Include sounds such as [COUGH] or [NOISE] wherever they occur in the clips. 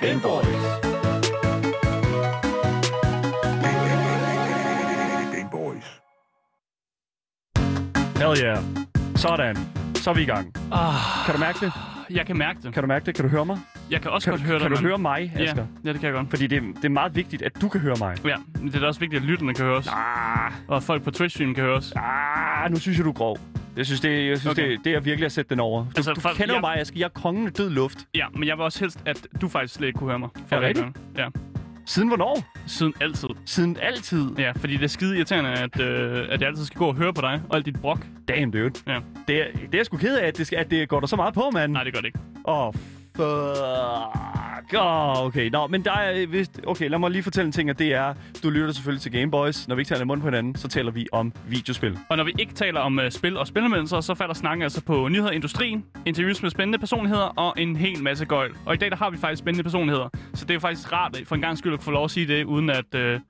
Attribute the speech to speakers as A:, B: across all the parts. A: Gameboys.
B: Game Boys.
C: Hell yeah. Sådan. Så er vi i gang.
D: Ah,
C: Kan du mærke det?
D: jeg kan mærke det.
C: Kan du mærke det? Kan du høre mig?
D: Jeg kan også
C: Kan,
D: godt høre
C: kan
D: det.
C: du
D: men-
C: høre mig, Asger?
D: Ja, ja, det kan jeg godt.
C: Fordi det, det er meget vigtigt, at du kan høre mig.
D: Ja, men det er da også vigtigt, at lytterne kan høre os.
C: Ah,
D: Og at folk på Twitch-streamen kan høre os.
C: ah, nu synes jeg, du er grov. Jeg synes, det, jeg synes,
D: Okay.
C: okay. det, det er virkelig at sætte den over. Du,
D: Altså,
C: altså, du
D: folk-
C: kender jeg...
D: jeg-
C: mig, Asger. Jeg er kongen af død luft.
D: Ja, men jeg vil også helst, at du faktisk slet ikke kunne høre mig. For
C: Er det
D: at- Ja,
C: Siden hvornår?
D: siden altid.
C: Siden altid.
D: Ja, fordi det er skide irriterende, at, øh, at jeg altid skal gå og høre på dig og alt dit brok.
C: Damn, dude.
D: Ja.
C: Det, er, det er jeg sgu ked af, at det, skal, at det går der så meget på, mand.
D: Nej, det gør det ikke.
C: Åh, oh, fuck. Oh, okay, nå, men der er vist... Okay, lad mig lige fortælle en ting, og det er... Du lytter selvfølgelig til Gameboys. Når vi ikke taler i munden på hinanden, så taler vi om videospil.
D: Og når vi ikke taler om uh, spil og spilanmeldelser, så falder snakken altså på nyheder i industrien, interviews med spændende personligheder og en hel masse gøjl. Og i dag der har vi faktisk spændende personligheder, så det er jo faktisk rart for en gang skyld at få lov at sige det, uden at, øh,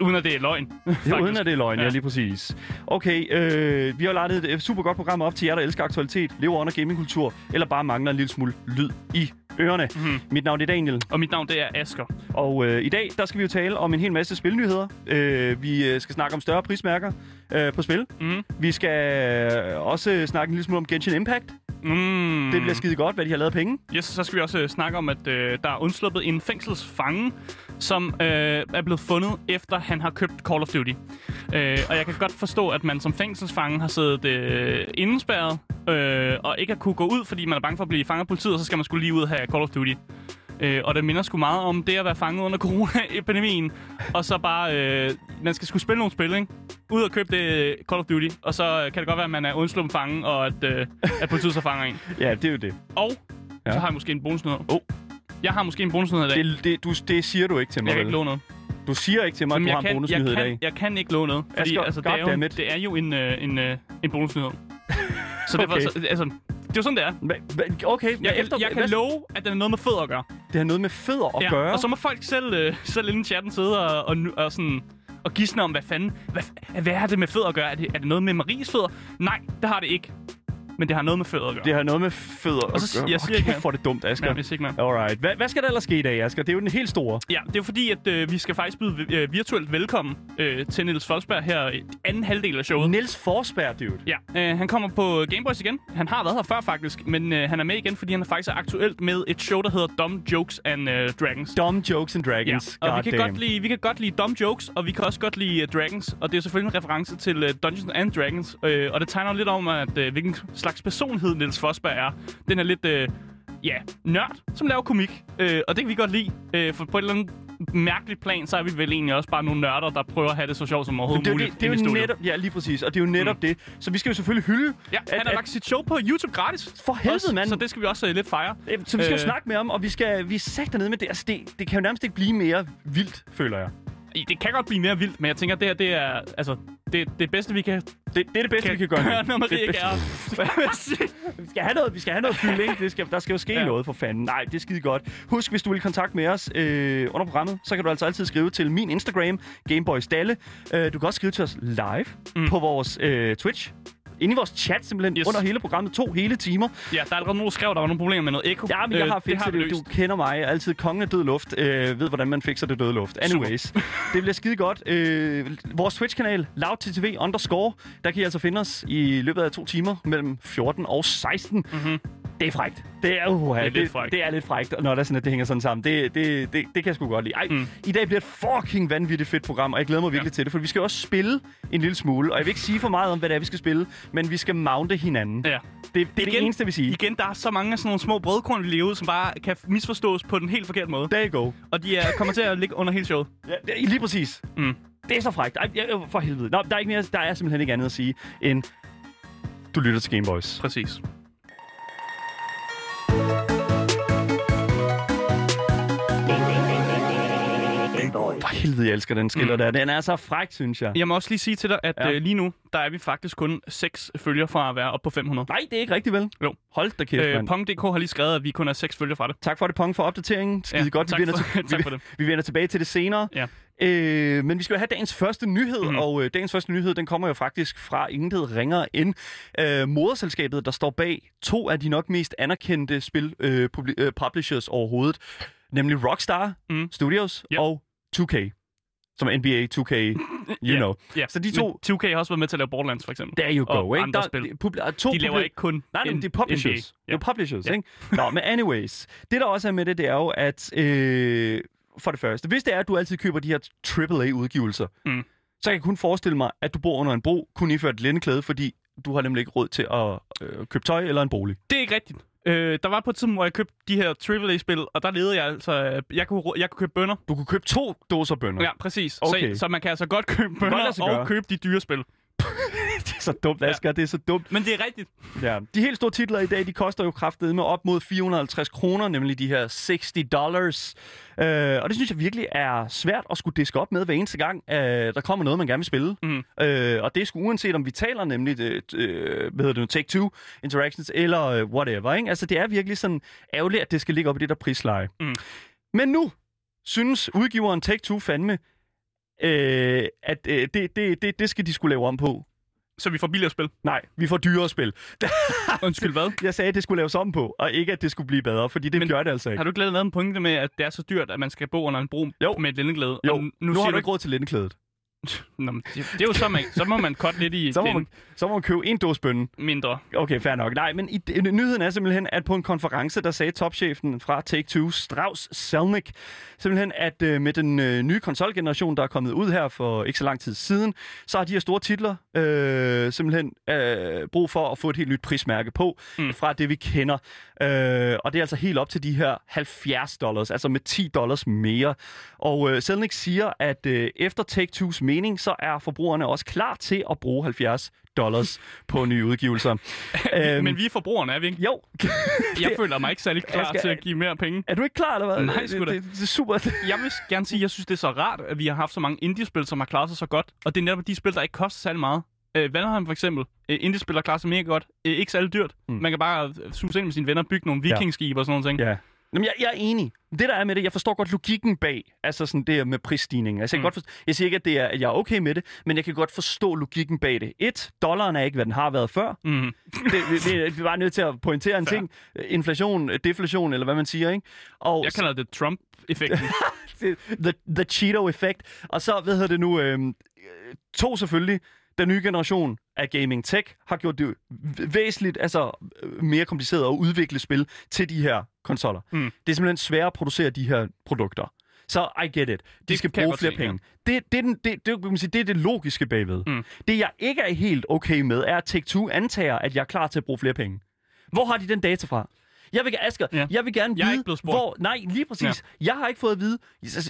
D: uden at det er løgn.
C: Det er uden at det er løgn, ja. ja
D: Ja.
C: lige præcis. Okay, øh, vi har lagt et øh, super godt program op til jer, der elsker aktualitet, lever under gamingkultur, eller bare mangler en lille smule lyd i ørerne. Mm-hmm. Mit navn er Daniel,
D: Og mit navn det er Asker.
C: og øh, i dag der skal vi jo tale om en hel masse spilnyheder. Øh, vi øh, skal snakke om større prismærker øh, på spil.
D: Mhm.
C: Vi skal øh, også øh, snakke en lille smule om Genshin Impact. Mm.
D: Mm.
C: Det bliver skide godt, hvad de har lavet af penge.
D: Yes, så skal vi også øh, snakke om, at øh, der er undsluppet en fængselsfange, som øh, er blevet fundet, efter han har købt Call of Duty. Øh, og jeg kan godt forstå, at man som fængselsfange har siddet øh, indespærret, øh, og ikke har kunne gå ud, fordi man er bange for at blive fanget af politiet, og så skal man skulle lige ud og have Call of Duty. Øh, og det minder sgu meget om det at være fanget under [LAUGHS] coronaepidemien, og så bare, øh, man skal skulle spille nogle spil, ikke? Ud og købe det øh, Call of Duty, og så øh, kan det godt være, at man er undsluppet fange, og at, øh, at politiet så fanger en.
C: Ja, det er jo det.
D: Og
C: Ja.
D: ja. så har jeg måske en bonusnyhed.
C: Oh.
D: Jeg har måske en bonusnyhed i dag.
C: Det, det, du, det siger du ikke til mig.
D: jeg kan ikke
C: vel?
D: låne noget.
C: Du siger ikke til mig, at du
D: jeg,
C: har en
D: kan, jeg,
C: bonusnyhed i dag.
D: kan, jeg kan ikke låne noget. Fordi,
C: Asger,
D: altså, det, er jo,
C: goddammit.
D: det er jo en, øh, en, øh,
C: [LAUGHS]
D: en bonusnyhed. Så det, var,
C: Okay.
D: så, altså, det er jo sådan, det er.
C: Hva- hva- Okay,
D: Jeg,
C: men
D: jeg, jeg kan
C: hvad-
D: love, at den er noget med fødder at gøre.
C: Det har noget med fødder at gøre.
D: Og så må folk selv, øh, selv inden chatten sidde og, og, nu- og sådan og gisne om, hvad fanden, hvad, f- hvad har det med fødder at gøre? Er det, er det noget med Maries fødder? Nej, det har det ikke. Men det har noget med fødder at gøre.
C: Det har noget med fødder og
D: så
C: at
D: siger-
C: gøre.
D: jeg
C: Åh,
D: siger ikke
C: kæft,
D: mere.
C: hvor er det dumt, Asger.
D: Ja, hvis ikke man.
C: Alright. Hva, hvad skal der ellers ske i dag, Asger? Det er jo den helt store.
D: Ja, det er jo fordi, at øh, vi skal faktisk byde øh, virtuelt velkommen øh, til Niels Folsberg her i anden halvdel af showet.
C: Niels Forsberg, dude.
D: Ja, øh, han kommer på Gameboys igen. Han har været her før faktisk, men øh, han er med igen, fordi han er faktisk aktuelt med et show, der hedder Dumb Jokes and øh, Dragons.
C: Dumb jokes and
D: Ja,
C: dragons.
D: og vi kan,
C: Goddamn.
D: godt lide, vi kan godt lide Dumb Jokes, og vi kan også godt lide uh, Dragons. Og det er selvfølgelig en reference til uh, Dungeons and Dragons. Øh, og det tegner lidt om, at uh, hvilken slags personlighed Niels Fosberg er. Den er lidt, øh, ja, nørd, som laver komik. Øh, og det kan vi godt lide, øh, for på et eller andet mærkeligt plan, så er vi vel egentlig også bare nogle nørder, der prøver at have det så sjovt som overhovedet
C: det er, jo
D: muligt.
C: det, det er
D: inde i
C: jo
D: studiet.
C: netop, ja, lige præcis. Og det er jo netop mm. det. Så vi skal jo selvfølgelig hylde.
D: Ja, han har lagt sit show på YouTube gratis.
C: For helvede,
D: Også,
C: mand.
D: Så det skal vi også øh, lidt fejre.
C: øh, så vi skal jo
D: Øh.
C: snakke med ham, og vi skal vi er sagt dernede med det. Altså, det, det kan jo nærmest ikke blive mere vildt, føler jeg.
D: I- Det kan godt blive mere vildt, men jeg tænker, at det her det er altså, det, det bedste, vi kan,
C: Det, det er det bedste,
D: kan,
C: vi kan gøre. nu.
D: [LAUGHS] når man
C: Det er det
D: ikke
C: bedste.
D: er. Hvad vil jeg sige?
C: Vi skal have noget, vi skal have noget fylde, ikke? Det skal, der skal jo ske ja.
D: Ja.
C: noget for fanden. Nej, det er skide godt. Husk, hvis du vil i kontakt med os øh, under programmet, så kan du altså altid skrive til min Instagram, Gameboys Dalle. Øh, du kan også skrive til os live mm. på vores øh, Twitch. Inde i vores chat simpelthen, yes.
D: Yes.
C: under hele programmet, to hele timer.
D: Ja, der er allerede nogen, der skrev, at der var nogle problemer med noget ekko.
C: Ja, men jeg
D: Øh,
C: har
D: det
C: fikset
D: har vi
C: det,
D: løst.
C: Du kender mig, Jeg er altid kongen af død luft. Øh, ved, hvordan man fikser det døde luft. Anyways, det bliver skide godt. Øh, vores Twitch-kanal, loudttv underscore, der kan I altså finde os i løbet af to timer mellem 14 og 16. Mm-hmm. Det er frægt. Det er, uha,
D: Mhm. Det er lidt
C: det,
D: frækt.
C: det er lidt frægt, når det er sådan, at det hænger sådan sammen. Det, det, det, det kan jeg sgu godt lide. Ej, mm. i dag bliver et fucking vanvittigt fedt program, og jeg glæder mig virkelig ja. til det, for vi skal jo også spille en lille smule. Og jeg vil ikke sige for meget om, hvad det er, vi skal spille, men vi skal mounte hinanden.
D: Ja.
C: Det, det er det eneste, vi siger.
D: Igen, der er så mange af sådan nogle små brødkorn, vi lever ud, som bare kan misforstås på den helt forkerte måde.
C: There you go.
D: Og de er, kommer til at ligge under hele showet.
C: Ja, det- lige præcis.
D: Mm.
C: Det er så frækt. Ej, jeg- jeg- for helvede. Nå, der er, ikke mere, der er simpelthen ikke andet at sige, end du lytter til Gameboys.
D: Præcis.
B: Game Boys.
C: For helvede, jeg elsker den skiller mm. der. Den er så fræk, synes jeg.
D: Jeg må også lige sige til dig, at
C: Ja.
D: ja. øh, lige nu, der er vi faktisk kun 6 følger fra at være oppe på 500.
C: Nej, det er ikke rigtigt, vel?
D: Jo.
C: Hold da kæft,
D: Øh,
C: mand.
D: Pong.dk har lige skrevet, at vi kun er 6 følger fra det.
C: Tak for det, Pong, for opdateringen. Skide
D: Ja,
C: godt,
D: tak
C: vi vender,
D: for-
C: til,
D: [LAUGHS] tak
C: vi,
D: for det.
C: vi vender tilbage til det senere.
D: Ja.
C: Øh, men vi skal jo have dagens første nyhed, mm.
D: Mhm.
C: og øh, dagens første nyhed, den kommer jo faktisk fra intet ringer end øh, moderselskabet, der står bag to af de nok mest anerkendte spil øh, publi- øh, publishers overhovedet. nemlig Rockstar
D: Mm.
C: mm. Studios
D: Ja.
C: yep. og 2K, som er NBA 2K, you
D: Ja.
C: know.
D: Ja.
C: Så de to-
D: Men 2K har også været med til at lave Borderlands, for eksempel.
C: There you go,
D: Og
C: ikke?
D: andre
C: Der,
D: spil.
C: de, publi- er to
D: De laver
C: publi-
D: ikke kun
C: Nej, nej,
D: en-
C: men de er publishers.
D: NBA. Ja.
C: Ja. Det er publishers,
D: Ja.
C: ja. ikke? Nå, men anyways. Det, der også er med det, det er jo, at øh, for det første, hvis det er, at du altid køber de her AAA-udgivelser,
D: Mm.
C: så jeg kan kun forestille mig, at du bor under en bro, kun iført et lindeklæde, fordi du har nemlig ikke råd til at øh, købe tøj eller en bolig.
D: Det er ikke rigtigt. Øh, der var på et tidspunkt, hvor jeg købte de her AAA-spil, og der levede jeg altså... Jeg kunne, ro- jeg kunne købe bønder.
C: Du kunne købe to dåser bønner.
D: Ja, præcis.
C: Okay.
D: Så, så man kan altså godt købe
C: godt
D: bønder
C: lade sig
D: og
C: gøre.
D: købe de dyre spil.
C: [LAUGHS] Det er så dumt, Asger. Ja. Det er så dumt.
D: Men det er rigtigt.
C: Ja. De helt store titler i dag, de koster jo kraftedet med op mod 450 kroner, nemlig de her 60 dollars. Øh, og det synes jeg virkelig er svært at skulle diske op med hver eneste gang, øh, der kommer noget, man gerne vil spille.
D: Mm.
C: Øh, og det er sgu uanset, om vi taler nemlig, det, øh, hvad hedder det nu, Take-Two, Interactions eller øh, whatever. Ikke? Altså, det er virkelig sådan ærgerligt, at det skal ligge op i det der prisleje.
D: Mm.
C: Men nu synes udgiveren Take-Two fandme, øh, at øh, det, det, det, det skal de skulle lave om på.
D: Så vi får billigere [LAUGHS] spil.
C: Nej, vi får dyrere spil.
D: Undskyld,
C: [LAUGHS]
D: hvad?
C: Jeg sagde, at det skulle laves om på, og ikke, at det skulle blive bedre, fordi det
D: Men
C: Men, gør det altså ikke.
D: Har du ikke lavet lavet en pointe med, at det er så dyrt, at man skal bo under en bro
C: Jo.
D: med et lindeglæde?
C: Jo,
D: Og
C: nu,
D: nu,
C: nu
D: siger
C: har du ikke råd til lindeklædet.
D: [LAUGHS] Nå, men det, det, er jo så, man, så må man godt lidt
C: [LAUGHS]
D: i
C: Så må, man,
D: den
C: så må man købe en dåse bønnen.
D: mindre.
C: Okay, fair nok. Nej, men i, nyheden er simpelthen, at på en konference, der sagde topchefen fra Take-Two, Strauss Selnick, simpelthen, at øh, med den øh, nye konsolgeneration, der er kommet ud her for ikke så lang tid siden, så har de her store titler øh, simpelthen øh, brug for at få et helt nyt prismærke på
D: Mm.
C: mm. fra det, vi kender. Øh, og det er altså helt op til de her 70 dollars, altså med 10 dollars mere. Og øh, Selnick siger, at øh, efter Take-Two's mening, så er forbrugerne også klar til at bruge 70 dollars på nye udgivelser.
D: Øhm.
C: øhm,
D: [LAUGHS] Men vi er forbrugerne, er vi
C: [LAUGHS]
D: ikke?
C: jo,
D: Jeg
C: det-
D: føler mig ikke særlig klar
C: skal-
D: til at give mere penge.
C: er du ikke klar, eller hvad?
D: Nej, sgu
C: det,
D: da.
C: det, det er super. [LAUGHS]
D: Jeg vil gerne sige, at jeg synes, det er så rart, at vi har haft så mange indie-spil, som har klaret sig så godt. Og det er netop de spil, der ikke koster særlig meget. Øh, Vanderheim for eksempel. Øh, indie-spil, der klarer sig mega godt. Øh, ikke særlig dyrt. Mm.
C: Mm.
D: Man kan bare øh, suse ind med sine venner og bygge nogle
C: Ja.
D: vikingskibe og sådan noget. ting.
C: Ja. Jamen, jeg, jeg er enig. Det, der er med det, jeg forstår godt logikken bag, altså sådan det her med prisstigningen. Altså, jeg,
D: Mm.
C: mm. godt forstå, jeg siger ikke, at, det er, at jeg er okay med det, men jeg kan godt forstå logikken bag det. Et, dollaren er ikke, hvad den har været før.
D: Mm.
C: Det, vi, vi, vi er bare nødt til at pointere en
D: Fair.
C: ting. Inflation, deflation, eller hvad man siger, ikke? Og
D: Jeg kalder det Trump-effekten.
C: [LAUGHS] det, the, the Cheeto Effect. Og så, hvad hedder det nu, øh, to selvfølgelig, den nye generation af gaming tech har gjort det væsentligt altså, øh, mere kompliceret at udvikle spil til de her konsoller.
D: Mm.
C: Det er simpelthen sværere at producere de her produkter. Så I get it. De
D: Det
C: skal
D: kan jeg
C: bruge
D: godt
C: flere
D: se,
C: penge. Det, det, er den, det, det, kan man sige, det er det logiske bagved.
D: Mm.
C: Det, jeg ikke er helt okay med, er, at Take-Two antager, at jeg er klar til at bruge flere penge. Hvor har de den data fra? Jeg vil, Asger,
D: Ja.
C: ja. jeg vil gerne
D: Jeg er
C: vide,
D: ikke blevet spurgt.
C: hvor... Nej, lige præcis. Ja. Jeg har ikke fået at vide...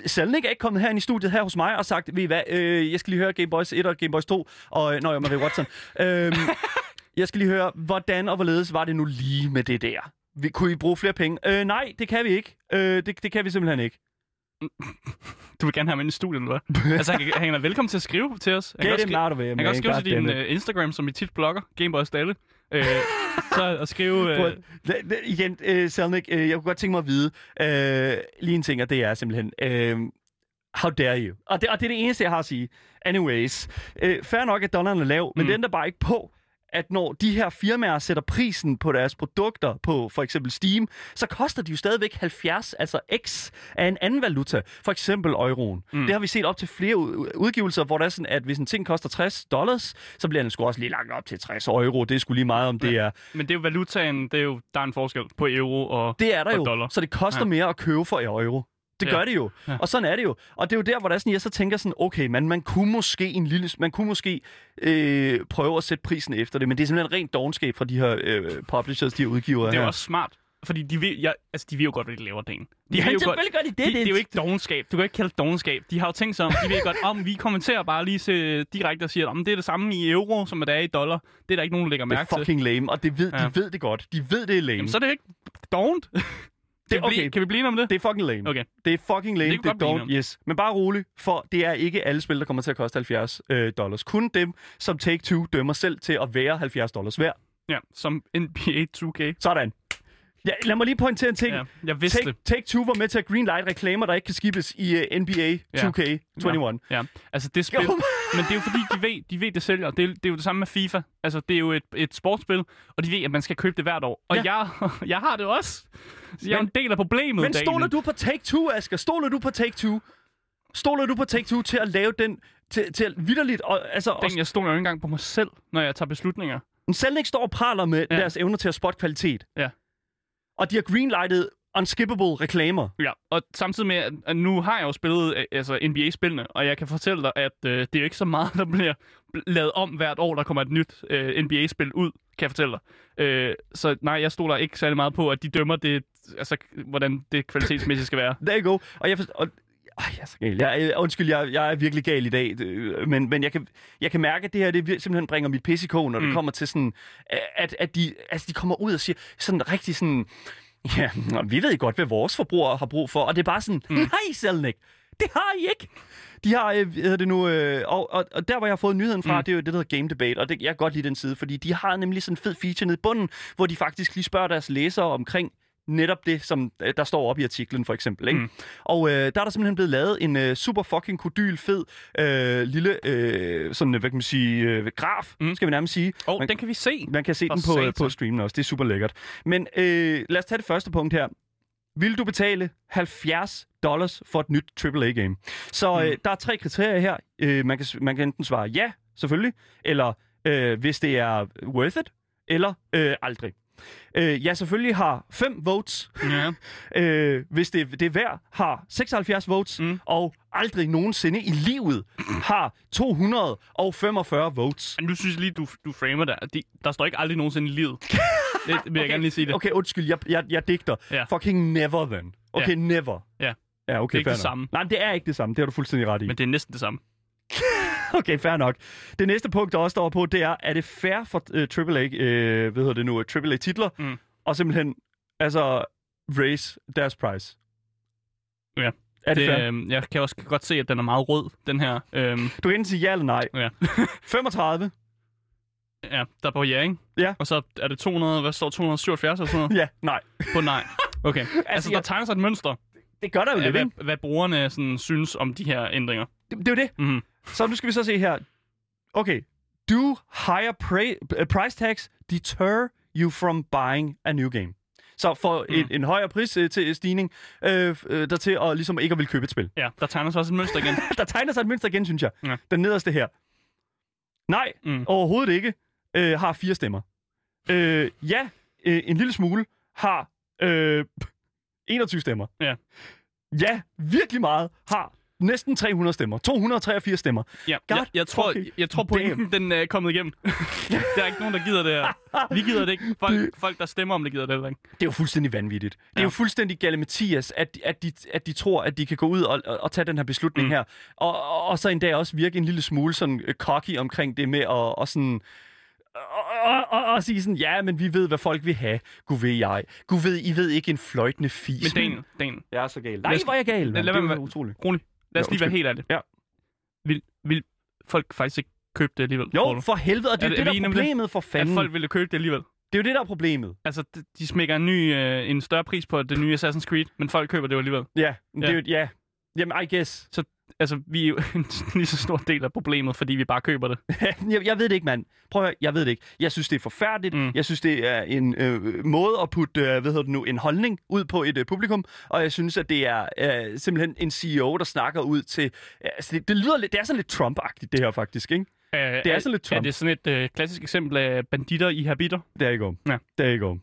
C: Salnik er ikke kommet herind i studiet her hos mig og sagt, ved I hvad, øh, jeg skal lige høre Game Boys 1 og Game Boys 2, og... Øh, Nå, jeg Marie
D: [LAUGHS]
C: Watson. øhm, jeg skal lige høre, hvordan og hvorledes var det nu lige med det der? Vi, kunne I bruge flere penge? Øh, nej, det kan vi ikke. Øh, det, det kan vi simpelthen ikke.
D: Du vil gerne have ham ind i studiet, eller
C: [LAUGHS]
D: hvad? altså, han, kan- han er velkommen til at skrive til os. Han kan
C: Get
D: også
C: him
D: skri-
C: out of here,
D: han kan
C: man.
D: også skrive til din
C: Goddammit.
D: uh, Instagram, som vi tit blogger, Gameboys Dalle. Øh, så at skrive...
C: [LAUGHS] Prøv
D: Øh,
C: at- la- la- Igen, øh, Selnik, øh, jeg kunne godt tænke mig at vide øh, lige en ting, og det er simpelthen, øh, how dare you? Og det, og det er det eneste, jeg har at sige. Anyways, øh, fair nok, at dollaren er lav, men
D: Mm.
C: mm. det ændrer bare ikke på, at når de her firmaer sætter prisen på deres produkter på for eksempel Steam, så koster de jo stadigvæk 70, altså x, af en anden valuta, for eksempel euroen.
D: Mm.
C: Mm. Det har vi set op til flere ud- udgivelser, hvor det er sådan, at hvis en ting koster 60 dollars, så bliver den sgu også lige langt op til 60 euro. Det er sgu lige meget, om det er
D: men det er jo valutaen, det er jo, der er en forskel på euro og...
C: det er der
D: Og
C: jo.
D: dollar.
C: Så det koster
D: Ja.
C: ja. mere at købe for euro. Det
D: Ja.
C: gør det jo.
D: Ja.
C: Ja. Og sådan er det jo. Og det er jo der, hvor der er sådan, jeg så tænker sådan, okay, man, man kunne måske, en lille, man kunne måske øh, prøve at sætte prisen efter det, men det er simpelthen rent dogenskab fra de her øh, publishers, de her udgivere
D: Det er jo
C: her.
D: også smart, fordi de ved, ja, altså, de ved jo godt, hvad de laver dagen. De
C: Ja,
D: ved jo godt,
C: selvfølgelig gør de det.
D: de, det er jo ikke dogenskab. Du kan ikke kalde det dogenskab. De har jo tænkt sig om, de ved godt, om vi kommenterer bare lige se, direkte og siger, at det er det samme i euro, som det er i dollar. Det er der ikke nogen, der lægger
C: det
D: mærke
C: er
D: til.
C: fucking lame, og det ved,
D: Ja.
C: de ved det godt. De ved, det er lame.
D: Jamen, så er det jo ikke dovent. Kan, det, okay.
C: okay.
D: blive, kan vi blive enige om det?
C: Det er fucking lame.
D: Okay.
C: Det er fucking lame.
D: Det kan
C: Det,
D: vi godt
C: det
D: blive
C: er
D: enige
C: don't, yes. Men bare rolig, for det er ikke alle spil, der kommer til at koste 70 øh, dollars. Kun dem, som Take-Two dømmer selv til at være 70 dollars værd.
D: Ja, som NBA 2K.
C: Sådan. Ja, lad mig lige pointere en ting.
D: Ja, jeg vidste
C: Take,
D: det.
C: Take Two var med til at greenlight reklamer, der ikke kan skibes i uh, NBA 2K21.
D: Ja, altså det spil...
C: Jo. [LAUGHS]
D: Men det er jo fordi, de ved, de ved det sælger. Det er, det er jo det samme med FIFA. [LAUGHS] Altså, det er jo et, et sportsspil, og de ved, at man skal købe det hvert år. Og ja.
C: Ja.
D: jeg, jeg har det også. Jeg er jo en del af problemet,
C: Men stoler
D: Daniel.
C: du på Take-Two, Asger? Stoler du på Take-Two? Stoler du på Take-Two til at lave den til, til at vidderligt, og, altså, og,
D: Den, jeg stoler jo ikke engang på mig selv, når jeg tager beslutninger.
C: Selnik står og praler med ja.
D: Ja.
C: deres evner til at spotte kvalitet.
D: Ja.
C: Og de har greenlightet unskippable reklamer.
D: Ja, og samtidig med, at- at nu har jeg jo spillet øh, altså NBA-spillene, og jeg kan fortælle dig, at øh, det er jo ikke så meget, [LAUGHS] der bliver bl- lavet om hvert år, der kommer et nyt øh, NBA-spil ud, kan jeg fortælle dig. Øh, så nej, jeg stoler ikke særlig meget på, at de dømmer det, altså hvordan det kvalitetsmæssigt skal være.
C: [LAUGHS] There you go. Og jeg forstår, og, ej, jeg er så gal. Jeg, er- undskyld, jeg, jeg er virkelig gal i dag, øh, men, men jeg, kan, jeg kan mærke, at det her det vir- simpelthen bringer mit pis i kog, når mm. det
D: Mm.
C: kommer til sådan, øh, at, at de, altså, de kommer ud og siger sådan rigtig sådan, ja, nå, vi ved godt, hvad vores forbrugere har brug for, og det er bare sådan, mm. nej, Selnik, det har I ikke. De har, øh, hvad hedder det nu, øh, og, og, og der, hvor jeg har fået nyheden fra, mm. det er jo det, der hedder Game Debate, og det, jeg kan godt lide den side, fordi de har nemlig sådan en fed feature nede i bunden, hvor de faktisk lige spørger deres læsere omkring netop det, som øh, der står op i artiklen, for eksempel. Ikke? Mm. Og øh, der er der simpelthen blevet lavet en øh, super fucking kodyl fed øh, lille, øh, sådan, øh, hvad kan man sige, øh, graf, mm.
D: Mm.
C: skal vi nærmest sige.
D: Og oh,
C: man,
D: den kan vi se.
C: man kan se
D: For
C: den på, øh,
D: satan.
C: på streamen også, det er super lækkert. Men øh, lad os tage det første punkt her. Vil du betale 70 dollars for et nyt AAA-game? Så
D: Mm.
C: øh, der er tre kriterier her. Øh, man, kan, s- man kan enten svare ja, selvfølgelig, eller øh, hvis det er worth it, eller øh, aldrig. Øh, jeg selvfølgelig har 5 votes,
D: Ja.
C: øh, hvis det, det er hver, har 76 votes, mm.
D: Mm.
C: og aldrig nogensinde i livet har 245 votes.
D: Men nu synes jeg lige, du, du framer der. De, der står ikke aldrig nogensinde i livet. Det vil okay. jeg gerne lige sige det. Okay.
C: Okay, undskyld, jeg, jeg, jeg digter.
D: Ja.
C: Fucking never then. Okay,
D: Ja.
C: never.
D: Ja.
C: Ja, okay,
D: Det er ikke
C: fair
D: det
C: nok.
D: samme.
C: Nej, det er ikke det samme. Det har du fuldstændig ret i.
D: Men det er næsten det samme.
C: [LAUGHS] Okay, fair nok. Det næste punkt, der også står på, det er, er det fair for uh, AAA, øh, hvad hedder det nu, AAA-titler,
D: Mm.
C: og simpelthen, altså, raise deres price?
D: Ja.
C: Er det, det fair?
D: øhm, jeg kan også godt se, at den er meget rød, den her. Øhm,
C: Du kan enten sige ja eller nej.
D: ja. [LAUGHS]
C: 35.
D: Ja, der er på ja, ikke?
C: Ja.
D: Og så er det 200, hvad står 277 eller sådan noget?
C: Ja, nej. [LAUGHS]
D: På nej. Okay. altså, der
C: jeg-
D: tegner sig et mønster
C: Det gør der jo
D: af,
C: lidt, ikke?
D: hvad, hvad brugerne sådan, synes om de her ændringer.
C: Det, det er jo det.
D: Mm.
C: Så nu skal vi så se her. Okay. Do higher pra- eh, price tags deter you from buying a new game? Så for mm. en, en højere pris øh, til stigning, øh, øh, der til at ligesom ikke at vil købe et spil. [LAUGHS]
D: Ja, der tegner sig også et mønster igen.
C: Der tegner sig et mønster igen, synes jeg.
D: Ja.
C: Den nederste her. Nej, mm.
D: Mm.
C: overhovedet ikke. Øh, har fire stemmer. Øh, ja, øh, en lille smule. Har [LAUGHS] øh, 21 stemmer.
D: Ja.
C: Ja, virkelig meget. Har næsten 300 stemmer. 283 stemmer.
D: Ja,
C: God
D: jeg, jeg, tror,
C: fucking
D: jeg, jeg tror pointen, den øh, er kommet igennem. [LAUGHS] der er ikke nogen, der gider det her. Vi gider det ikke. Folk, folk der stemmer om det, gider det heller ikke.
C: Det er jo fuldstændig vanvittigt. Det er
D: Ja.
C: jo fuldstændig gale Mathias, at, at, de, at de tror, at de kan gå ud og, og, og tage den her beslutning mm. her. Og, og, og så en dag også virke en lille smule sådan øh, cocky omkring det med at og sådan... Og, og, og, og sige sådan, ja, men vi ved, hvad folk vil have. Gud ved jeg. Gud ved, I ved ikke en fløjtende fis.
D: Men Daniel, Daniel,
C: Jeg er så gal. Nej,
D: os-
C: hvor er jeg gal.
D: lad
C: mand. Det
D: være
C: er
D: med-
C: jo utroligt.
D: rolig. Lad os
C: Ja,
D: lige være
C: undskyld.
D: helt ærlige.
C: Ja.
D: Vil, vil folk faktisk ikke købe det alligevel? tror
C: Jo,
D: du?
C: for helvede. Og det er,
D: Er
C: det,
D: det-
C: det, der
D: er vi
C: er
D: enige om det?
C: problemet for
D: at
C: fanden.
D: folk ville købe det alligevel.
C: Det er jo det, der er problemet.
D: Altså, de- de smækker en, ny, øh, en større pris på det nye Assassin's Creed, men folk køber det jo alligevel.
C: Ja, ja. Det er
D: Ja.
C: jo, ja. Jamen, I guess.
D: Altså, vi er jo [LAUGHS] en lige så stor del af problemet, fordi vi bare køber [LAUGHS] det.
C: jeg, jeg ved det ikke, mand. Prøv at høre, jeg ved det ikke. Jeg synes, det er forfærdeligt. Mm.
D: Mm.
C: Jeg synes, det er en øh, måde at putte, øh, hvad hedder det nu, en holdning ud på et øh, publikum. Og jeg synes, at det er øh, simpelthen en CEO, der snakker ud til... Øh, altså, det, det, lyder lidt, det er sådan lidt Trump-agtigt, det her faktisk, ikke?
D: Æh,
C: Det er sådan lidt
D: Er
C: Trump.
D: det sådan et øh, klassisk eksempel af banditter i habiter?
C: Det er ikke om.
D: Ja.
C: Det er ikke om.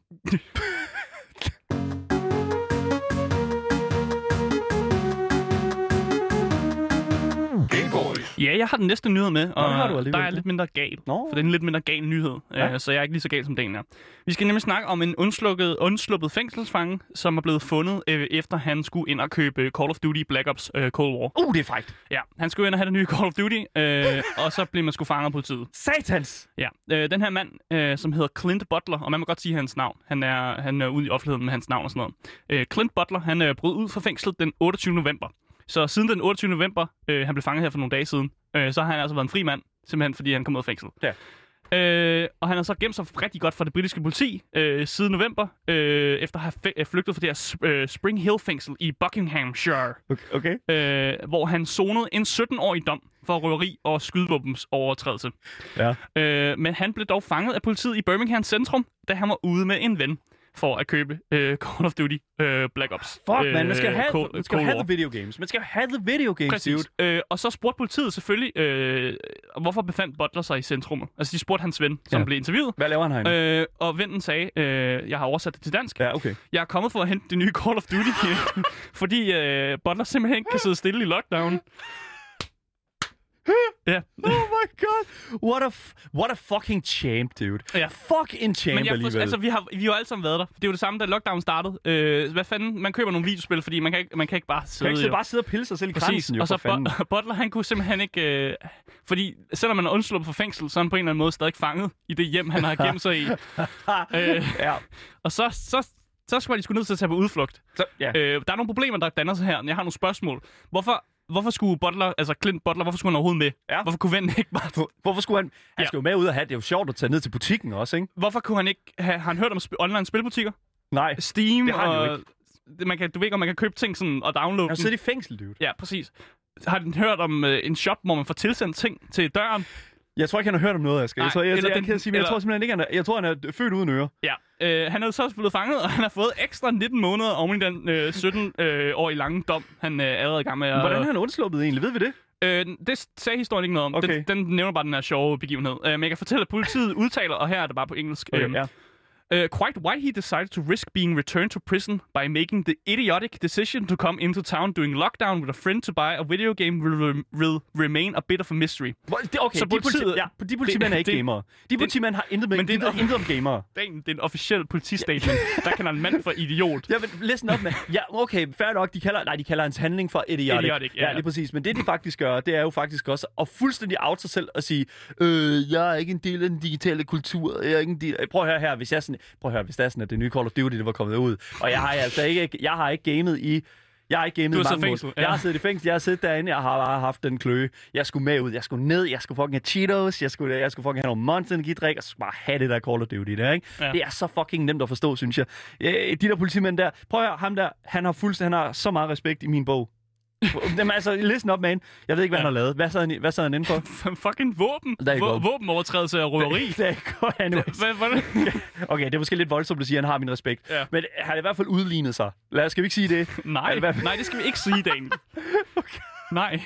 B: Game Boys.
D: Ja, jeg har den næste nyhed med, og
C: det har du alligevel,
D: der er
C: ja.
D: lidt mindre gal.
C: Nå.
D: For det er en lidt mindre gal nyhed,
C: Ja.
D: ja. øh, så jeg er ikke lige så gal som den er. Vi skal nemlig snakke om en undsluppet, undsluppet fængselsfange, som er blevet fundet, øh, efter han skulle ind og købe Call of Duty Black Ops øh, Cold War.
C: Uh, det er frækt.
D: Ja, han skulle ind og have det nye Call of Duty, øh, og så blev man sgu fanget af politiet.
C: Satans!
D: Ja, øh, den her mand, øh, som hedder Clint Butler, og man må godt sige hans navn. Han er, han er ude i offentligheden med hans navn og sådan noget. Øh, Clint Butler, han øh, brød ud fra fængslet den 28. november. Så siden den 28. november, øh, han blev fanget her for nogle dage siden, øh, så har han altså været en fri mand, simpelthen fordi han kom ud af fængslet.
C: Ja.
D: Øh, og han har så gemt sig rigtig godt fra det britiske politi øh, siden november, øh, efter at have fæ- øh, flygtet fra det her sp- øh, Spring Hill fængsel i Buckinghamshire
C: Okay. okay.
D: øh, hvor han sonede en 17-årig dom for røveri og skydevåbens overtrædelse.
C: Ja.
D: Øh, men han blev dog fanget af politiet i Birmingham Centrum, da han var ude med en ven. for at købe øh, [LAUGHS] Call of Duty øh, Black Ops.
C: Fuck, man. Man skal
D: øh,
C: have,
D: Cold-
C: man skal
D: Cold
C: have
D: War.
C: the video games. Man skal have the video games,
D: Præcis.
C: dude.
D: Øh, og så spurgte politiet selvfølgelig, øh, hvorfor befandt Butler sig i centrummet. Altså, de spurgte hans ven, som
C: Ja.
D: ja. blev interviewet.
C: Hvad laver han herinde? Øh.
D: Øh, og vennen sagde, øh, jeg har oversat det til dansk.
C: Ja, okay.
D: Jeg er kommet for at hente det nye Call of Duty,
C: [LAUGHS]
D: fordi øh, Butler simpelthen ikke kan sidde stille i lockdown. Ja.
C: [LAUGHS] Oh my god. What a, f- what a fucking champ, dude.
D: Ja.
C: Fuck en champ
D: Men jeg forstår,
C: alligevel.
D: altså, vi har, vi har jo alle sammen været der. Det er jo det samme, da lockdown startede. Øh, hvad fanden? Man køber nogle videospil, fordi man kan ikke, man kan ikke bare sidde...
C: kan ikke
D: jo.
C: sidde, bare sidde og pille sig selv i
D: Præcis,
C: kransen, jo,
D: og så
C: for fanden.
D: Bo- Butler, han kunne simpelthen ikke... Øh, fordi selvom han er undsluppet fra fængsel, så er han på en eller anden måde stadig fanget i det hjem, han har gemt
C: [LAUGHS]
D: sig i. [LAUGHS] øh,
C: ja.
D: og så, så, så skulle de skulle ned til at tage på udflugt.
C: Så, ja.
D: Øh, der er nogle problemer, der danner sig her. Jeg har nogle spørgsmål. Hvorfor, hvorfor skulle Butler, altså Clint Butler, hvorfor skulle han overhovedet med?
C: Ja.
D: Hvorfor kunne vennen ikke bare...
C: Hvor- Hvorfor skulle han... Han
D: Ja.
C: skal jo med ud og have... Det er jo sjovt at tage ned til butikken også, ikke?
D: Hvorfor kunne han ikke have... Har han hørt om sp- online spilbutikker?
C: Nej.
D: Steam
C: Det har han jo
D: og... Det- Man kan, du ved ikke, om man kan købe ting sådan, og downloade
C: Han
D: dem.
C: sidder i fængsel, dude.
D: Ja, præcis. Har den hørt om øh, en shop, hvor man får tilsendt ting til døren?
C: Jeg tror ikke, han har hørt om noget, Asger.
D: Nej,
C: Jeg tror, jeg, jeg,
D: eller
C: jeg,
D: den-
C: kan sige, men jeg
D: eller-
C: tror simpelthen ikke, han er, jeg tror, han er født uden ører.
D: Ja, øh, han er jo så også blevet fanget, og han har fået ekstra 19 måneder oven i den øh, 17 øh, år i lange dom, han øh, er allerede i gang med. at-
C: Hvordan er han undsluppet egentlig? Ved vi det?
D: Øh, det sagde historien ikke noget om.
C: Okay.
D: Den, den nævner bare den her sjove begivenhed. Øh, men jeg kan fortælle, at politiet [LAUGHS] udtaler, og her er det bare på engelsk.
C: Okay,
D: øhm,
C: ja.
D: Uh, quite why he decided to risk being returned to prison by making the idiotic decision to come into town during lockdown with a friend to buy a video game will, rem- will remain a bit of a mystery.
C: Hvor- Det, okay,
D: så
C: de,
D: politiet-
C: politi, ja, de politimænd er ikke
D: det-
C: gamere. De politimænd har intet med,
D: men
C: men
D: det-
C: det, det, intet om gamere.
D: Damn, det er en officiel
C: [LAUGHS]
D: politistatement. der kalder en mand for idiot.
C: Ja, men listen op med. Ja, okay, fair nok. De kalder, nej, de kalder hans handling for idiotic.
D: Idiotic, ja,
C: ja,
D: ja.
C: lige præcis. Men det, de faktisk gør, det er jo faktisk også at fuldstændig out sig selv og sige, øh, jeg er ikke en del af den digitale kultur. Jeg er ikke en del... Prøv at høre her, hvis jeg sådan... Prøv at høre, hvis det er sådan, at det nye Call of Duty, det var kommet ud. Og jeg har altså ikke... Jeg har ikke gamet i... Jeg har ikke gamet
D: Du har
C: i mange
D: siddet i
C: måneder.
D: fængsel, ja.
C: Jeg har siddet i fængsel, jeg har siddet derinde, jeg har bare haft den kløe. Jeg skulle med ud, jeg skulle ned, jeg skulle fucking have Cheetos, jeg skulle, jeg skulle fucking have nogle Monster Energy-drik, og så bare have det der Call of Duty der, ikke?
D: Ja.
C: Ja. Det er så fucking nemt at forstå, synes jeg. Øh, de der politimænd der, prøv at høre, ham der, han har fuldstændig, han har så meget respekt i min
D: [LAUGHS]
C: bog. Jamen altså, listen up, man. Jeg ved ikke, hvad han har lavet. Hvad sad han, i- hvad sad han inde for?
D: Fucking våben.
C: Der er ikke
D: Vå-
C: våben.
D: våbenovertrædelse og røveri.
C: [LAUGHS] Det er godt, anyways.
D: Hvad, hvordan?
C: [LAUGHS] Okay, det er måske lidt voldsomt at sige, at han har min respekt.
D: Ja.
C: Men han har i hvert fald udlignet sig. Lad os, skal vi ikke sige det?
D: [LAUGHS] Nej,
C: Han har i hvert fald-
D: nej, det skal vi ikke sige,
C: [LAUGHS]
D: Daniel. Nej.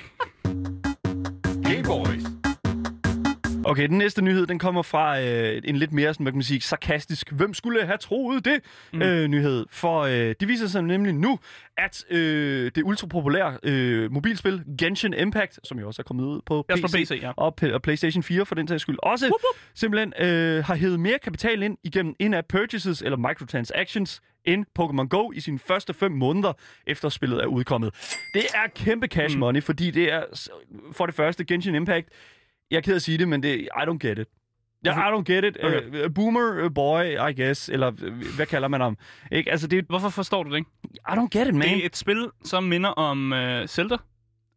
B: Game Boys.
C: Okay, den næste nyhed, den kommer fra øh, en lidt mere, sådan, hvad kan man sige, sarkastisk, hvem skulle have troet det, mm. øh, nyhed. For øh, det viser sig nemlig nu, at øh, det ultrapopulære øh, mobilspil Genshin Impact, som jo også er kommet ud på
D: Jeg
C: PC,
D: står PC, ja.
C: og, P- og PlayStation 4 for den sags skyld også, whoop, whoop. simpelthen øh, har hævet mere kapital ind igennem in-app purchases eller microtransactions end Pokémon Go i sine første fem måneder efter spillet er udkommet. Det er kæmpe cash money, mm. fordi det er s- for det første Genshin Impact. Jeg er ked af at sige det, men det, I don't get it. Yeah,
D: Altså-
C: I don't get it. Okay. Uh, boomer uh, boy, I guess. Eller uh, hvad kalder man ham? Ikke? Altså, det er...
D: Hvorfor forstår du det ikke?
C: I don't get it, man.
D: Det er et spil, som minder om øh, Zelda.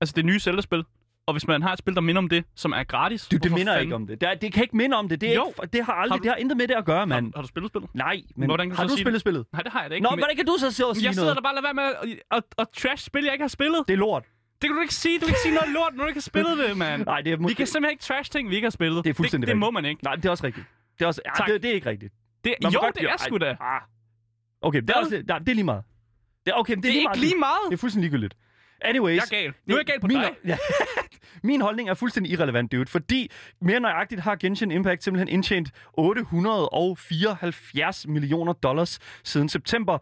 D: Altså det nye Zelda-spil. Og hvis man har et spil, der minder om det, som er gratis...
C: Du, det
D: hvorfor
C: minder
D: fanden-
C: ikke om det. Det, er, det kan ikke minde om det. Det, er
D: Jo.
C: ikke, det har aldrig,
D: Har
C: har
D: du-
C: det har intet med det at gøre, mand.
D: Har, har du spillet spillet?
C: Nej, men
D: Hvordan kan du
C: har
D: så
C: du
D: sige
C: spillet spillet?
D: Nej, det har jeg da ikke.
C: Nå,
D: men-
C: hvordan kan du så sidde og sige
D: Jeg sidder
C: noget?
D: der bare og lader være med at, at, at trash spil, jeg ikke har spillet.
C: Det er lort.
D: Det kan du ikke sige. Du kan ikke sige noget lort, når du ikke har spillet det, mand.
C: Nej, det er,
D: Vi kan simpelthen ikke trash ting, vi ikke har spillet.
C: Det er fuldstændig
D: Det, det må
C: rigtigt.
D: man ikke.
C: Nej, det er også rigtigt. Det er, også,
D: Tak.
C: ja, det, det er ikke rigtigt.
D: Det,
C: Man må
D: jo,
C: godt-
D: det er
C: Ej,
D: sgu da.
C: Ah. Okay, det er,
D: Hvad?
C: også, lidt- nej, det er lige meget. Det er, okay, men det
D: Det
C: er,
D: er
C: lige meget.
D: ikke lige meget.
C: Det er fuldstændig ligegyldigt. Anyways.
D: Jeg er gal. Nu er jeg gal på
C: min,
D: dig.
C: [LAUGHS] Ja, min holdning er fuldstændig irrelevant, dude, fordi mere nøjagtigt har Genshin Impact simpelthen indtjent 874 millioner dollars siden september.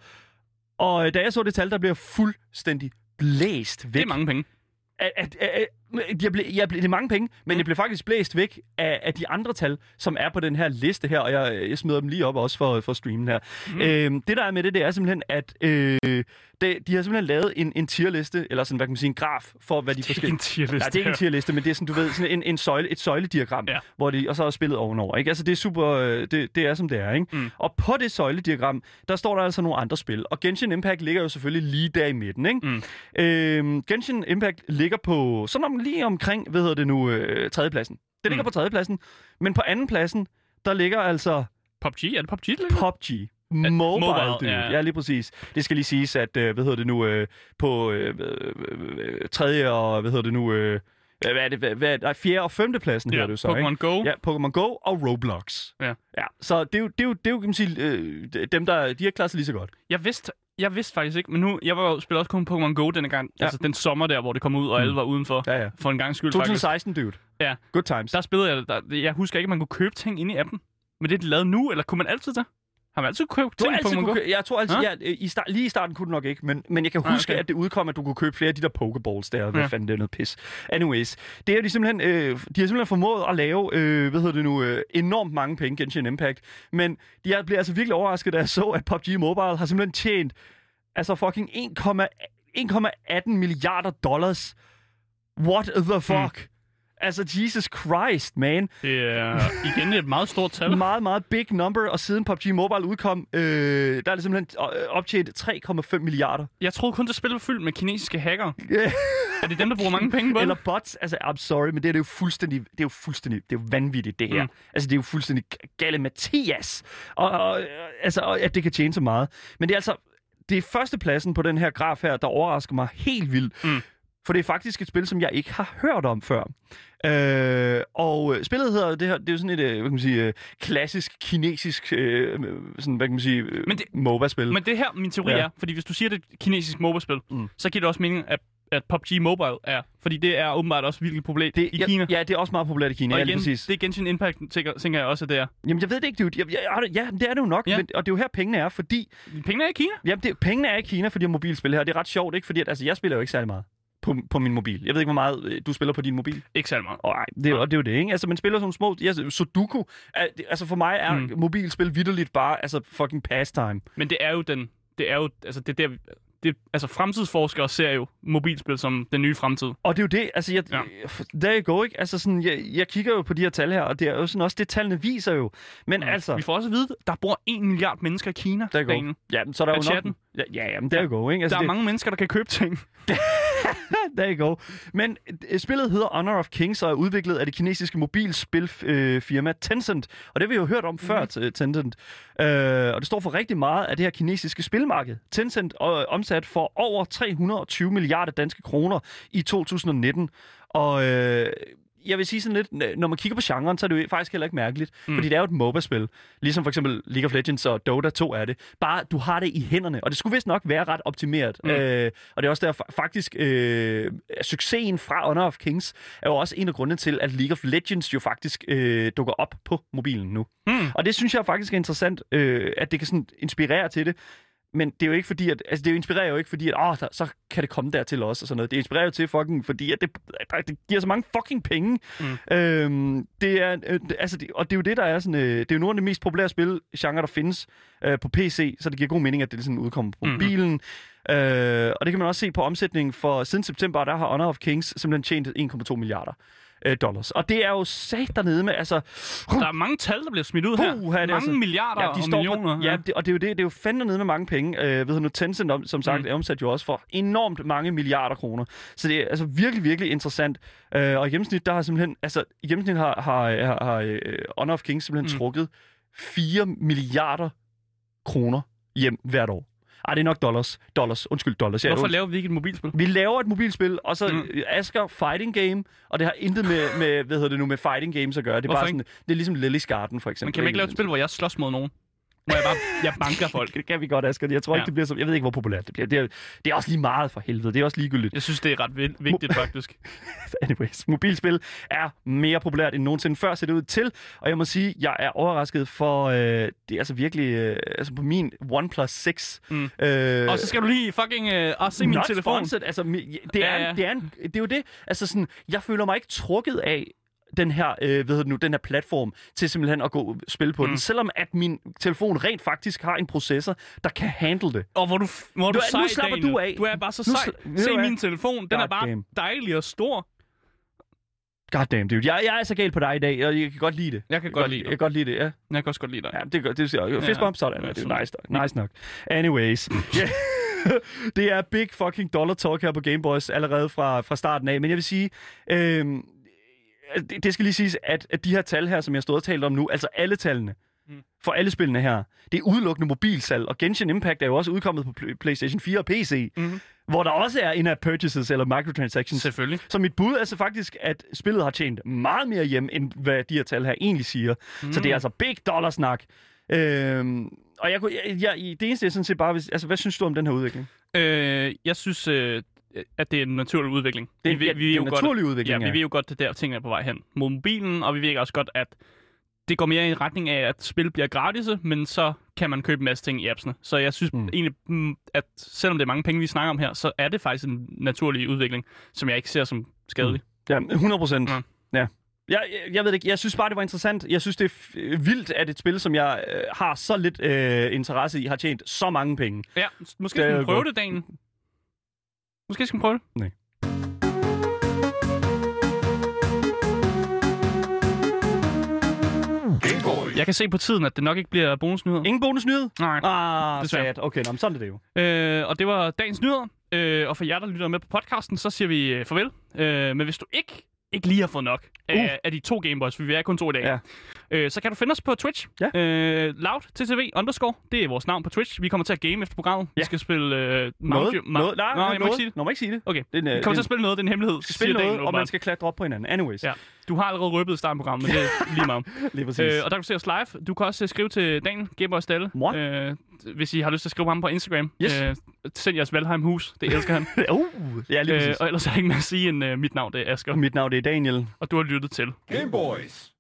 C: Og øh, da jeg så det tal, der blev jeg fuldstændig blæst
D: Det
C: væk
D: er mange penge. [LAUGHS]
C: at, at, at, at jeg blev, jeg blev, det er mange penge, men jeg blev faktisk blæst væk af, af de andre tal, som er på den her liste her, og jeg, jeg smider dem lige op også for, for streamen her. Mm. Øhm, det der er med det, det er simpelthen, at øh, det, de har simpelthen lavet en, en tierliste, eller sådan, hvad kan man sige, en graf for, hvad de forskellige...
D: tierliste.
C: Nej, det er ikke en tierliste, men det er sådan, du ved, sådan en, en søjle, et søjlediagram,
D: Ja.
C: ja. hvor de, og så er spillet ovenover. Ikke? Altså, det er super, øh, det, det er som det er. Ikke?
D: Mm.
C: Mm. Og på det søjlediagram, der står der altså nogle andre spil, og Genshin Impact ligger jo selvfølgelig lige der i midten. Ikke?
D: Mm.
C: Øhm, Genshin Impact ligger på, sådan om, lige omkring, hvad hedder det nu, øh, tredjepladsen. Det ligger
D: Mm.
C: på tredjepladsen, men på andenpladsen, der ligger altså
D: PUBG? Er det PUBG, det ligger?
C: PUBG. Mobile,
D: mobile,
C: mobile dude.
D: ja.
C: Ja. ja, lige præcis. Det skal lige siges, at, øh, hvad hedder det nu, øh, på øh, øh, øh, tredje og, hvad hedder det nu, øh, Hvad er det? Hvad, hvad, nej, fjerde og femte pladsen ja, hedder det jo så,
D: Pokemon Go.
C: ikke? Ja, Pokémon Go og Roblox.
D: Ja.
C: ja. Så det er jo, det er jo, det er jo kan man sige, øh, dem, der de har klaret sig lige så godt.
D: Jeg vidste, jeg vidste faktisk ikke, men nu, jeg var jo spillet også kun Pokémon Go denne gang,
C: Ja.
D: ja.
C: Mm.
D: altså den sommer der, hvor det kom ud, og alle var udenfor,
C: Ja, ja.
D: for en gang skyld faktisk.
C: 2016, dude.
D: Ja.
C: Good times.
D: Der spillede jeg, det. der, jeg husker ikke, at man kunne købe ting inde i appen, men det er det lavet nu, eller kunne man altid det? Har man altid kunne købe
C: Du har
D: ting i
C: altid
D: Pokémon Go?
C: kunne kø- jeg tror altid,
D: Hå?
C: ja, øh, i start, lige i starten kunne du nok ikke, men, men jeg kan
D: Nej,
C: huske,
D: okay.
C: okay. at det udkom, at du kunne købe flere af de der Pokeballs der, og hvad
D: Ja.
C: ja. fanden det er noget pis. Anyways, det er de simpelthen, øh, de har simpelthen formået at lave, øh, hvad hedder det nu, øh, enormt mange penge, Genshin Impact, men de er, blev altså virkelig overrasket, da jeg så, at PUBG Mobile har simpelthen tjent altså fucking 1,1 1,18 milliarder dollars. What
D: Hmm.
C: the fuck? Mm. Altså, Jesus Christ, man.
D: Det er igen et meget stort tal.
C: Meget, meget big number, og siden PUBG Mobile udkom, øh, der er det simpelthen øh, optjent 3,5 milliarder.
D: Jeg troede kun, det spil var fyldt med kinesiske hacker.
C: Ja.
D: Er det dem, der bruger mange penge på det?
C: Eller bots, altså I'm sorry, men det, her, det er jo fuldstændig, det er jo fuldstændig, det er jo vanvittigt det her.
D: Mm.
C: Mm. Altså det er jo fuldstændig gale Mathias, og, og, øh, altså, og, at det kan tjene så meget. Men det er altså, det er førstepladsen på den her graf her, der overrasker mig helt vildt.
D: Mm.
C: For det er faktisk et spil, som jeg ikke har hørt om før. Øh, og øh, spillet hedder, det, her, det er jo sådan et, øh, hvad kan man sige, øh, klassisk kinesisk, øh, sådan, hvad kan man sige, øh,
D: Men det-
C: MOBA-spil.
D: Men det her, min teori ja.
C: Ja.
D: er, fordi hvis du siger, det er et kinesisk MOBA-spil, mm.
C: Mm.
D: så giver det også mening, at, at PUBG Mobile er. Fordi det er åbenbart også virkelig et problem det,
C: det,
D: i
C: ja,
D: Kina.
C: Ja, det er også meget populært i Kina,
D: og
C: ja, lige
D: igen,
C: præcis.
D: det er Genshin Impact, tænker, tænker jeg også, at det er.
C: Jamen, jeg ved det ikke, dude. Jeg, jeg, jeg, ja, det er det jo nok,
D: Ja.
C: ja. men, og det er jo her, pengene er, fordi...
D: Pengene er i Kina.
C: Jamen, det, pengene er i Kina for de her mobilspil her, og det er ret sjovt, ikke? Fordi at, altså, jeg spiller jo ikke særlig meget på, på min mobil. Jeg ved ikke, hvor meget øh, du spiller på din mobil.
D: Ikke særlig meget.
C: Og, ej, det, er jo- og det er jo det, ikke? Altså, man spiller sådan nogle små... Ja, Sudoku, er, det- altså for mig er
D: Mm.
C: mm. mobilspil vidderligt bare altså, fucking pastime.
D: Men det er jo den... Det er jo... Altså, det er der... vi- Det, altså, fremtidsforskere ser jo mobilspil som den nye fremtid.
C: Og det er jo det, altså, jeg,
D: Ja.
C: ja. der jeg går, ikke? Altså, sådan, jeg, jeg kigger jo på de her tal her, og det er jo sådan også det, tallene viser jo. Men mm. altså...
D: Vi får også at vide, der bor 1 milliard mennesker i Kina.
C: Der er
D: derinde.
C: jo, ja, men så er der
D: Er
C: jo
D: chatten?
C: nok... Ja, ja, jamen, der er jo, ikke?
D: der
C: Altså,
D: er
C: det,
D: mange mennesker, der kan købe ting.
C: [LAUGHS] There you go. Men øh, spillet hedder Honor of Kings og er udviklet af det kinesiske mobilspilfirma Tencent. Og det har vi jo hørt om før, t- Tencent. Øh, og det står for rigtig meget af det her kinesiske spilmarked. Tencent øh, omsat for over 320 milliarder danske kroner i 2019. Og øh, jeg vil sige sådan lidt, n- når man kigger på genren, så er det jo faktisk heller ikke mærkeligt.
D: Mm.
C: Mm. Fordi det er jo et MOBA-spil. Ligesom for eksempel League of Legends og Dota 2 er det. Bare, du har det i hænderne. Og det skulle vist nok være ret optimeret.
D: Mm.
C: Mm. Øh, og det er også der fa- faktisk, øh, succesen fra Honor of Kings er jo også en af grundene til, at League of Legends jo faktisk øh, dukker op på mobilen nu.
D: Mm.
C: Og det synes jeg faktisk er interessant, øh, at det kan sådan inspirere til det. Men det er jo ikke fordi, at, altså det inspirerer jo ikke fordi, at åh, der, så kan det komme dertil også og sådan noget. Det inspirerer jo til fucking, fordi at det, at det giver så mange fucking penge. Mm. Øhm, det er, øh, det- altså det, og det er jo det, der er sådan, øh, det er jo nogle af de mest populære spilgenre, der findes øh, på PC, så det giver god mening, at det sådan udkommer på
D: Mhm.
C: mobilen. Øh, og det kan man også se på omsætningen, for siden september, der har Honor of Kings simpelthen tjent 1,2 milliarder øh, dollars. Og det er jo sat dernede med, altså...
D: Der er mange tal, der bliver smidt ud her.
C: Puha, det er
D: mange
C: altså-
D: milliarder og millioner.
C: På, ja, det, og det er jo det, det er jo fandme nede med mange penge. Øh, ved du nu, Tencent, om, som sagt,
D: Mm.
C: mm. er omsat jo også for enormt mange milliarder kroner. Så det er altså virkelig, virkelig interessant. Øh, og i gennemsnit, der har simpelthen, altså i gennemsnit har, har, har, har øh, Honor of Kings simpelthen
D: Mm.
C: mm. trukket 4 milliarder kroner hjem hvert år. Ej, det er nok dollars. Dollars. Undskyld, dollars. Jeg er
D: Hvorfor
C: unds-
D: laver vi ikke et mobilspil?
C: vi laver et mobilspil, og så
D: Mm.
C: mm. Asker Fighting Game, og det har intet med, med, hvad hedder det nu, med Fighting Games at gøre. Det er,
D: Hvorfor
C: bare sådan, det er ligesom Lily's Garden, for eksempel.
D: Men kan vi ikke lave et spil, hvor jeg slås mod nogen? Hvor jeg bare jeg banker
C: [LAUGHS]
D: folk.
C: Det kan vi godt, Asger. Jeg tror
D: Ja.
C: ja. ikke, det bliver så... Jeg ved ikke, hvor populært det bliver. Det er, det er også lige meget for helvede. Det er også ligegyldigt. [LAUGHS]
D: Jeg synes, det er ret vi- vigtigt, faktisk.
C: Anyways, mobilspil er mere populært end nogensinde før, ser det ud til. Og jeg må sige, jeg er overrasket for... Øh, det er altså virkelig... Øh, altså på min OnePlus 6...
D: Mm.
C: Øh,
D: Og så skal du lige fucking øh, også se min
C: not
D: telefon.
C: Sponsored. Altså, mi- det, er,
D: Ja,
C: ja,
D: ja.
C: ja. Det, er en, det er jo det. Altså sådan, jeg føler mig ikke trukket af den her, øh, hvad hedder det nu, den her platform til simpelthen at gå og spille på
D: Mm.
C: den. Selvom at min telefon rent faktisk har en processor, der kan handle det.
D: Og hvor du, f- hvor
C: Du
D: du, du
C: er-
D: sej,
C: nu slapper
D: Daniel.
C: du af.
D: Du er bare så
C: Nu
D: sej.
C: sla- ved du
D: Se
C: hvad?
D: min telefon. Den er bare
C: Goddamn.
D: dejlig og stor.
C: Goddamn, dude. Jeg, jeg er så gal på dig i dag, og jeg kan godt lide det.
D: Jeg kan godt lide
C: Jeg
D: dig.
C: kan godt lide det, ja.
D: Jeg kan også godt lide dig.
C: ja det, er godt- det, det, fist
D: Ja.
C: bump, sådan.
D: Ja,
C: Ja, det er
D: sådan.
C: jo nice, nok. nice nok. Anyways. [LAUGHS] Ja. det er big fucking dollar talk her på Game Boys allerede fra, fra starten af. Men jeg vil sige, øhm, øh, det, det skal lige siges, at, at de her tal her, som jeg stod og talt om nu, altså alle tallene,
D: Mm.
C: for alle spillene her. Det er udelukkende mobilsalg, og Genshin Impact er jo også udkommet på Pl- PlayStation 4 og PC,
D: Mhm.
C: hvor der også er in-app purchases eller microtransactions.
D: Selvfølgelig.
C: Så mit bud er så faktisk, at spillet har tjent meget mere hjem, end hvad de her tal her egentlig siger. Mm. Så det er altså big dollar snak. Øhm, og jeg kunne, jeg, jeg, det eneste er sådan set bare, hvis- altså, hvad synes du om den her udvikling?
D: Øh, jeg synes, øh, at det er en naturlig udvikling.
C: Det er- ja, det er en
D: jo godt-
C: naturlig udvikling,
D: Ja,
C: ja.
D: vi ved jo godt, at det der ting er på vej hen mod mobilen, og vi ved også godt, at det går mere i retning af, at spil bliver gratis, men så kan man købe en masse ting i appsene. Så jeg synes
C: Mm.
D: mm. egentlig, mm, at selvom det er mange penge, vi snakker om her, så er det faktisk en naturlig udvikling, som jeg ikke ser som skadelig.
C: Ja, 100 procent.
D: Mm.
C: Ja. Jeg, jeg, jeg ved det ikke. Jeg synes bare, det var interessant. Jeg synes, det er f- øh, vildt, at et spil, som jeg øh, har så lidt øh, interesse i, har tjent så mange penge.
D: Ja, s- måske
C: Det
D: skal
C: er
D: vi prøve
C: godt.
D: det, Daniel. Måske skal vi prøve det.
B: Game Boys.
D: Jeg kan se på tiden, at det nok ikke bliver bonusnyheder.
C: Ingen bonusnyhed?
D: Nej.
C: Ah,
D: Desværre.
C: sad. Okay, nå, men sådan er det jo.
D: Øh, og det var dagens nyheder. Øh, og for jer, der lytter med på podcasten, så siger vi øh, farvel. Øh, men hvis du ikke, ikke lige har fået nok
C: Uh.
D: af, af de to Gameboys, for vi er kun to i dag,
C: Ja.
D: øh, så kan du finde os på Twitch.
C: Ja.
D: Øh, loud, ttv, underscore, det er vores navn på Twitch. Vi kommer til at game efter programmet.
C: Ja.
D: Vi skal spille... Øh,
C: Noget?
D: Mount- Ma-
C: noget? Nej,
D: Nå, jeg må
C: noget.
D: ikke sige det.
C: Nå, må ikke sige det.
D: Okay.
C: Det er en, øh,
D: Vi
C: det er
D: kommer til
C: en-
D: at spille noget, det er en hemmelighed.
C: skal
D: siger
C: spille noget,
D: Daniel
C: og man
D: åbenbart.
C: skal klatre op på hinanden. Anyways,
D: Ja. Du har allerede røbet i starten af programmet, men det er lige
C: [LAUGHS]
D: meget.
C: lige præcis.
D: Øh, og der kan du se os live. Du kan også øh, skrive til Dan, Gibber og Stalle,
C: Mor.
D: øh, hvis I har lyst til at skrive på ham på Instagram.
C: Yes.
D: Øh, send jeres Valheim hus, det elsker han.
C: uh, [LAUGHS] ja, lige
D: Øh,
C: præcis.
D: og ellers er jeg ikke med at sige, end øh, mit navn det er Asger,
C: og mit navn det er Daniel.
D: og du har lyttet til
B: Game Boys.